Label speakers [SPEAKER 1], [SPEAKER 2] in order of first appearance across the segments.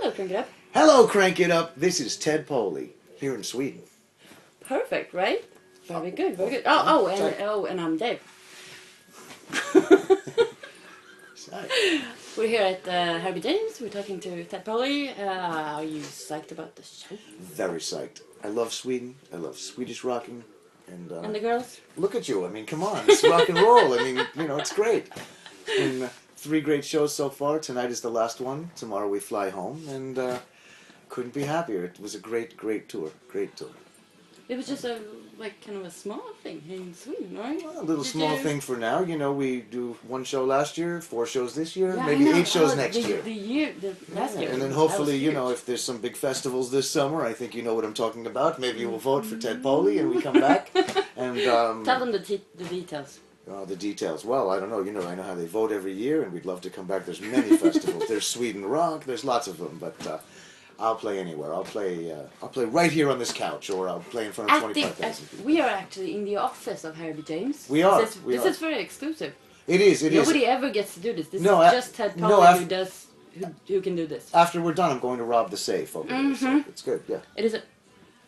[SPEAKER 1] Crank It Up.
[SPEAKER 2] Hello, Crank It Up. This is Ted Poley here in Sweden.
[SPEAKER 1] Perfect, right? Very good, very good. Oh, oh, and oh, and I'm Dave.
[SPEAKER 2] So,
[SPEAKER 1] We're here at uh, Herbie James. We're talking to Ted Polly. Uh, are you psyched about the show?
[SPEAKER 2] very psyched. I love Sweden. I love Swedish rocking. And, uh,
[SPEAKER 1] And the girls?
[SPEAKER 2] look at you. I mean, come on. It's rock and roll. I mean, you know, it's great. And, uh, three great shows so far. Tonight is the last one. Tomorrow we fly home. And uh, couldn't be happier. It was a great, great tour. Great tour.
[SPEAKER 1] It was just a like kind of a small thing here in Sweden, right?
[SPEAKER 2] A little
[SPEAKER 1] Did
[SPEAKER 2] small
[SPEAKER 1] you-
[SPEAKER 2] thing for now. You know, we do one show last year, four shows this year,
[SPEAKER 1] Yeah, I
[SPEAKER 2] maybe
[SPEAKER 1] know.
[SPEAKER 2] eight shows
[SPEAKER 1] Oh,
[SPEAKER 2] next
[SPEAKER 1] the,
[SPEAKER 2] year.
[SPEAKER 1] The year, the last
[SPEAKER 2] Yeah,
[SPEAKER 1] year.
[SPEAKER 2] And then
[SPEAKER 1] That
[SPEAKER 2] hopefully,
[SPEAKER 1] was
[SPEAKER 2] you know,
[SPEAKER 1] huge.
[SPEAKER 2] if there's some big festivals this summer, I think you know what I'm talking about. Maybe you will vote for Ted Poley and we come back. and
[SPEAKER 1] Tell
[SPEAKER 2] um,
[SPEAKER 1] them the, t- the details.
[SPEAKER 2] uh, the details. Well, I don't know. You know, I know how they vote every year, and we'd love to come back. There's many festivals. There's Sweden Rock. There's lots of them, but. Uh, I'll play anywhere. I'll play. Uh, I'll play right here on this couch, or I'll play in front of
[SPEAKER 1] I think
[SPEAKER 2] twenty-five thousand
[SPEAKER 1] uh,
[SPEAKER 2] people.
[SPEAKER 1] we are actually in the office of Herbie James.
[SPEAKER 2] We are,
[SPEAKER 1] This is,
[SPEAKER 2] we
[SPEAKER 1] this
[SPEAKER 2] are.
[SPEAKER 1] is very exclusive.
[SPEAKER 2] It is. It is.
[SPEAKER 1] Nobody ever gets to do this. This
[SPEAKER 2] No,
[SPEAKER 1] is
[SPEAKER 2] I-
[SPEAKER 1] just Ted
[SPEAKER 2] no,
[SPEAKER 1] Polly
[SPEAKER 2] I've-
[SPEAKER 1] who does who, who can do this.
[SPEAKER 2] After we're done, I'm going to rob the safe over there. So it's good. Yeah.
[SPEAKER 1] It is. A,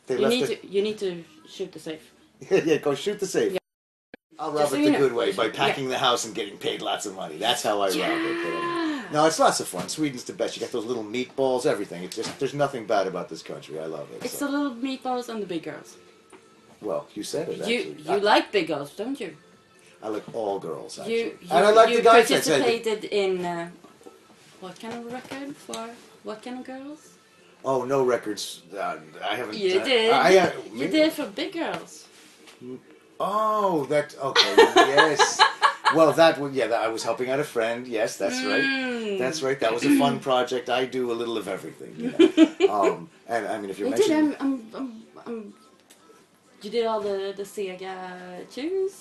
[SPEAKER 2] They
[SPEAKER 1] Mm-hmm. you
[SPEAKER 2] left
[SPEAKER 1] need
[SPEAKER 2] the-
[SPEAKER 1] to you need to shoot the safe.
[SPEAKER 2] yeah, go shoot the safe.
[SPEAKER 1] Yeah.
[SPEAKER 2] I'll
[SPEAKER 1] Just
[SPEAKER 2] rob
[SPEAKER 1] so
[SPEAKER 2] it
[SPEAKER 1] you
[SPEAKER 2] the
[SPEAKER 1] know.
[SPEAKER 2] good way by packing the house and getting paid lots of money. That's how I rob it. but, um, no, it's lots of fun. Sweden's the best. You got those little meatballs, everything. It's just there's nothing bad about this country. I love it.
[SPEAKER 1] It's
[SPEAKER 2] so-
[SPEAKER 1] the little meatballs and the big girls.
[SPEAKER 2] well, you said it.
[SPEAKER 1] You
[SPEAKER 2] actually.
[SPEAKER 1] you
[SPEAKER 2] I,
[SPEAKER 1] like big girls, don't you?
[SPEAKER 2] I like all girls. Actually.
[SPEAKER 1] You you,
[SPEAKER 2] and I like
[SPEAKER 1] you
[SPEAKER 2] the guys that said. it.
[SPEAKER 1] participated in uh, what kind of record for what kind of girls?
[SPEAKER 2] Oh no, records. Uh, I haven't.
[SPEAKER 1] You
[SPEAKER 2] uh,
[SPEAKER 1] did.
[SPEAKER 2] I, uh,
[SPEAKER 1] you did for big girls.
[SPEAKER 2] Oh, that okay. yes. Well, that was yeah. That, I was helping out a friend. Yes, that's
[SPEAKER 1] Mm.
[SPEAKER 2] right. That's right. That was a fun project. I do a little of everything. You know? um, and I mean, if you're
[SPEAKER 1] You did.
[SPEAKER 2] mentioning
[SPEAKER 1] I'm, I'm, I'm, I'm, you did all the the Sega tunes.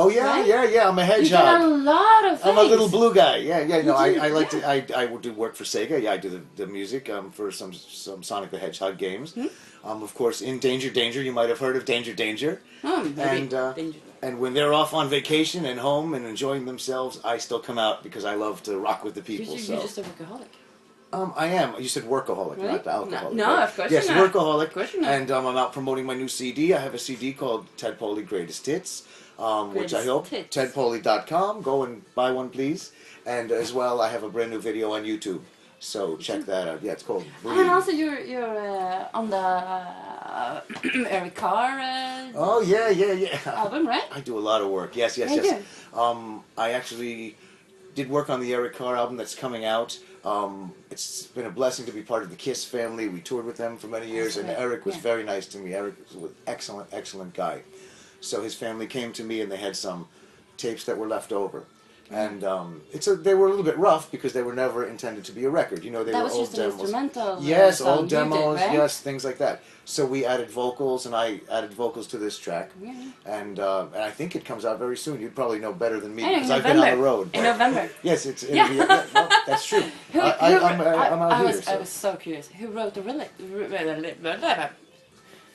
[SPEAKER 2] oh yeah,
[SPEAKER 1] right?
[SPEAKER 2] yeah, yeah. I'm a
[SPEAKER 1] You did a
[SPEAKER 2] hedgehog.
[SPEAKER 1] lot of things.
[SPEAKER 2] I'm a little blue guy. Yeah, yeah. No, I,
[SPEAKER 1] did,
[SPEAKER 2] I like to. I, I do work for Sega. Yeah, I do the, the music um, for some some Sonic the Hedgehog games.
[SPEAKER 1] Hmm?
[SPEAKER 2] Um, of course, in Danger Danger, you might have heard of Danger Danger.
[SPEAKER 1] Oh, maybe.
[SPEAKER 2] and uh,
[SPEAKER 1] Danger.
[SPEAKER 2] and when they're off on vacation and home and enjoying themselves, I still come out because I love to rock with the
[SPEAKER 1] You,
[SPEAKER 2] people.
[SPEAKER 1] you,
[SPEAKER 2] so
[SPEAKER 1] you're just a workaholic.
[SPEAKER 2] um, I am. You said workaholic,
[SPEAKER 1] Really?
[SPEAKER 2] not alcoholic.
[SPEAKER 1] No, no,
[SPEAKER 2] right?
[SPEAKER 1] of course
[SPEAKER 2] Yes,
[SPEAKER 1] you're not.
[SPEAKER 2] workaholic.
[SPEAKER 1] Of course you're not.
[SPEAKER 2] And um, I'm out promoting my new CD. I have a CD called Ted Poley Greatest Hits, um, which I
[SPEAKER 1] Greatest
[SPEAKER 2] hope
[SPEAKER 1] Hits.
[SPEAKER 2] tedpoley.com. Go and buy one, please. And as well, I have a brand new video on YouTube. So check that out. Yeah, it's called.
[SPEAKER 1] Mm-hmm. Oh, And also, you're you're uh, on the uh, Eric Carr uh,
[SPEAKER 2] Oh yeah, yeah, yeah.
[SPEAKER 1] album, right?
[SPEAKER 2] I do a lot of work. Yes, yes,
[SPEAKER 1] Yeah, you
[SPEAKER 2] yes. Um, I actually did work on the Eric Carr album that's coming out. Um, it's been a blessing to be part of the Kiss family. We toured with them for many years, and
[SPEAKER 1] right.
[SPEAKER 2] Eric was
[SPEAKER 1] Yeah.
[SPEAKER 2] very nice to me. Eric was an excellent, excellent guy. So his family came to me, and they had some tapes that were left over. And um, it's a, they were a little bit rough because they were never intended to be a record. You know, they
[SPEAKER 1] That
[SPEAKER 2] were
[SPEAKER 1] was
[SPEAKER 2] old
[SPEAKER 1] just an
[SPEAKER 2] demos.
[SPEAKER 1] instrumental. uh,
[SPEAKER 2] Yes,
[SPEAKER 1] song
[SPEAKER 2] all
[SPEAKER 1] you did,
[SPEAKER 2] demos,
[SPEAKER 1] right?
[SPEAKER 2] yes, things like that. So we added vocals, and I added vocals to this track,
[SPEAKER 1] Yeah.
[SPEAKER 2] and uh, and I think it comes out very soon. You'd probably know better than me
[SPEAKER 1] Yeah, in
[SPEAKER 2] because I've been on the
[SPEAKER 1] November.
[SPEAKER 2] road.
[SPEAKER 1] In
[SPEAKER 2] but-
[SPEAKER 1] November.
[SPEAKER 2] Yes, it's in
[SPEAKER 1] Yeah.
[SPEAKER 2] the- yeah, well, that's true.
[SPEAKER 1] Who,
[SPEAKER 2] I, I,
[SPEAKER 1] who-
[SPEAKER 2] I'm, I, am out
[SPEAKER 1] I
[SPEAKER 2] here.
[SPEAKER 1] was,
[SPEAKER 2] so.
[SPEAKER 1] I was so curious. Who wrote the rela- re- re- re- re-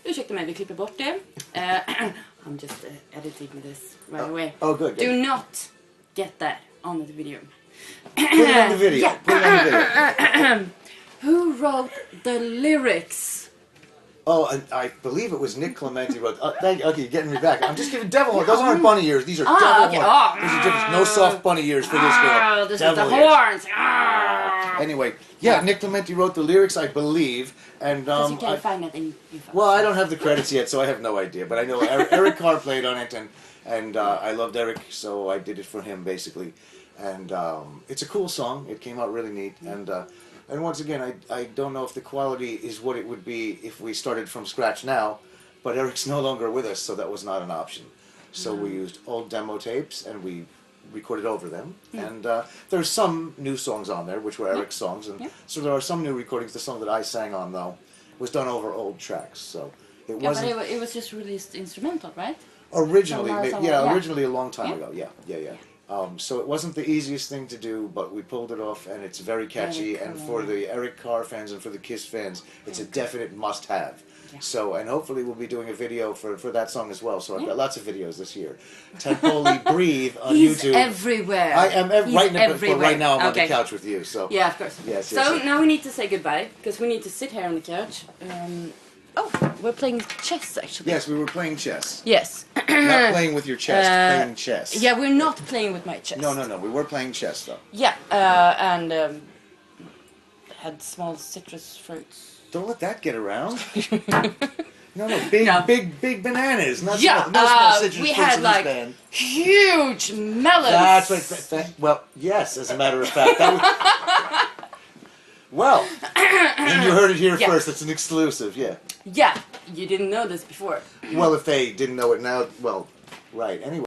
[SPEAKER 1] Ursäkta mig, vi klipper bort det. Eh, I'm just uh, editing this right away.
[SPEAKER 2] oh, good,
[SPEAKER 1] Do
[SPEAKER 2] good.
[SPEAKER 1] not get that on the video.
[SPEAKER 2] Put it on the video.
[SPEAKER 1] Yeah.
[SPEAKER 2] Put it on the video.
[SPEAKER 1] Who wrote the lyrics?
[SPEAKER 2] Oh, and I believe it was Nick Clementi wrote. Oh, thank you. Okay, you're getting me back. I'm just giving devil. Those aren't bunny ears. These are
[SPEAKER 1] Ah,
[SPEAKER 2] devil
[SPEAKER 1] okay.
[SPEAKER 2] horns.
[SPEAKER 1] Ah.
[SPEAKER 2] There's a difference. No soft bunny ears for this girl.
[SPEAKER 1] Oh, this
[SPEAKER 2] devil
[SPEAKER 1] is the
[SPEAKER 2] ears.
[SPEAKER 1] horns. Ah.
[SPEAKER 2] Anyway, yeah, Nick Clementi wrote the lyrics, I believe, and
[SPEAKER 1] 'Cause
[SPEAKER 2] um,
[SPEAKER 1] you can't
[SPEAKER 2] I-
[SPEAKER 1] find that in, in
[SPEAKER 2] Well, I don't have the credits yet, so I have no idea. But I know Eric, Eric Carr played on it, and and uh, I loved Eric, so I did it for him basically. And um, it's a cool song. It came out really neat, and uh, and once again, I I don't know if the quality is what it would be if we started from scratch now, but Eric's no longer with us, so that was not an option. So we used old demo tapes and we recorded over them. And uh, there's some new songs on there, which were Eric's songs, and
[SPEAKER 1] Yeah.
[SPEAKER 2] so there are some new recordings. The song that I sang on though was done over old tracks, so it
[SPEAKER 1] yeah, but
[SPEAKER 2] wasn't
[SPEAKER 1] it, wa- it was just released instrumental, right?
[SPEAKER 2] originally.
[SPEAKER 1] Somewhere,
[SPEAKER 2] ma-
[SPEAKER 1] somewhere,
[SPEAKER 2] yeah,
[SPEAKER 1] yeah.
[SPEAKER 2] originally a long time
[SPEAKER 1] Yeah.
[SPEAKER 2] ago. Yeah, yeah, yeah. Um, so it wasn't the easiest thing to do, but we pulled it off, and it's very catchy.
[SPEAKER 1] Very
[SPEAKER 2] and
[SPEAKER 1] cool.
[SPEAKER 2] for the Eric Carr fans and for the Kiss fans, it's a definite must-have.
[SPEAKER 1] Yeah.
[SPEAKER 2] So, and hopefully we'll be doing a video for, for that song as well. So I've
[SPEAKER 1] Yeah.
[SPEAKER 2] got lots of videos this year. Ted Foley, Breathe on
[SPEAKER 1] He's
[SPEAKER 2] Uh, YouTube.
[SPEAKER 1] everywhere.
[SPEAKER 2] I am ev-
[SPEAKER 1] He's
[SPEAKER 2] right now, but- but
[SPEAKER 1] everywhere.
[SPEAKER 2] right now I'm on the
[SPEAKER 1] Okay.
[SPEAKER 2] couch with you. So
[SPEAKER 1] Yeah, of course.
[SPEAKER 2] Yes,
[SPEAKER 1] so
[SPEAKER 2] yes, yes.
[SPEAKER 1] now we need to say goodbye because we need to sit here on the couch. Um, oh, we're playing chess actually.
[SPEAKER 2] yes, we were playing chess,
[SPEAKER 1] Yes.
[SPEAKER 2] not playing with your chest,
[SPEAKER 1] Uh,
[SPEAKER 2] playing chess.
[SPEAKER 1] yeah, we're not playing with my chess.
[SPEAKER 2] No, no, no. We were playing chess though.
[SPEAKER 1] Yeah, uh, and um, had small citrus fruits.
[SPEAKER 2] Don't let that get around. no, no, big,
[SPEAKER 1] No.
[SPEAKER 2] big, big bananas. Not
[SPEAKER 1] yeah,
[SPEAKER 2] small, no small
[SPEAKER 1] uh,
[SPEAKER 2] citrus
[SPEAKER 1] we
[SPEAKER 2] fruits
[SPEAKER 1] had
[SPEAKER 2] in
[SPEAKER 1] like
[SPEAKER 2] this band.
[SPEAKER 1] huge melons.
[SPEAKER 2] That's what. That, that- well, yes, as a matter of fact. That was, well, and you heard it here
[SPEAKER 1] Yeah.
[SPEAKER 2] first. It's an exclusive. Yeah.
[SPEAKER 1] yeah, you didn't know this before.
[SPEAKER 2] Well, if they didn't know it now, well, right. Anyway.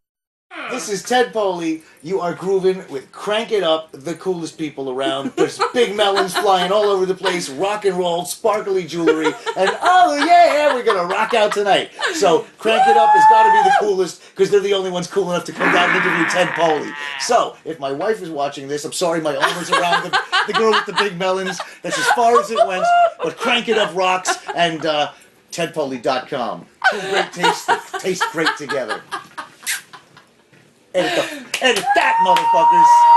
[SPEAKER 2] This is Ted Poley. You are grooving with Crank It Up, the coolest people around. There's big melons flying all over the place, rock and roll, sparkly jewelry, and oh yeah, we're gonna rock out tonight. So Crank It Up has got to be the coolest because they're the only ones cool enough to come down and interview Ted Poley. So if my wife is watching this, I'm sorry, my owner's around the, the girl with the big melons. That's as far as it went. But Crank It Up rocks and uh, TedPoley.com. Two great tastes that taste great together. Edit, the, edit that, motherfuckers.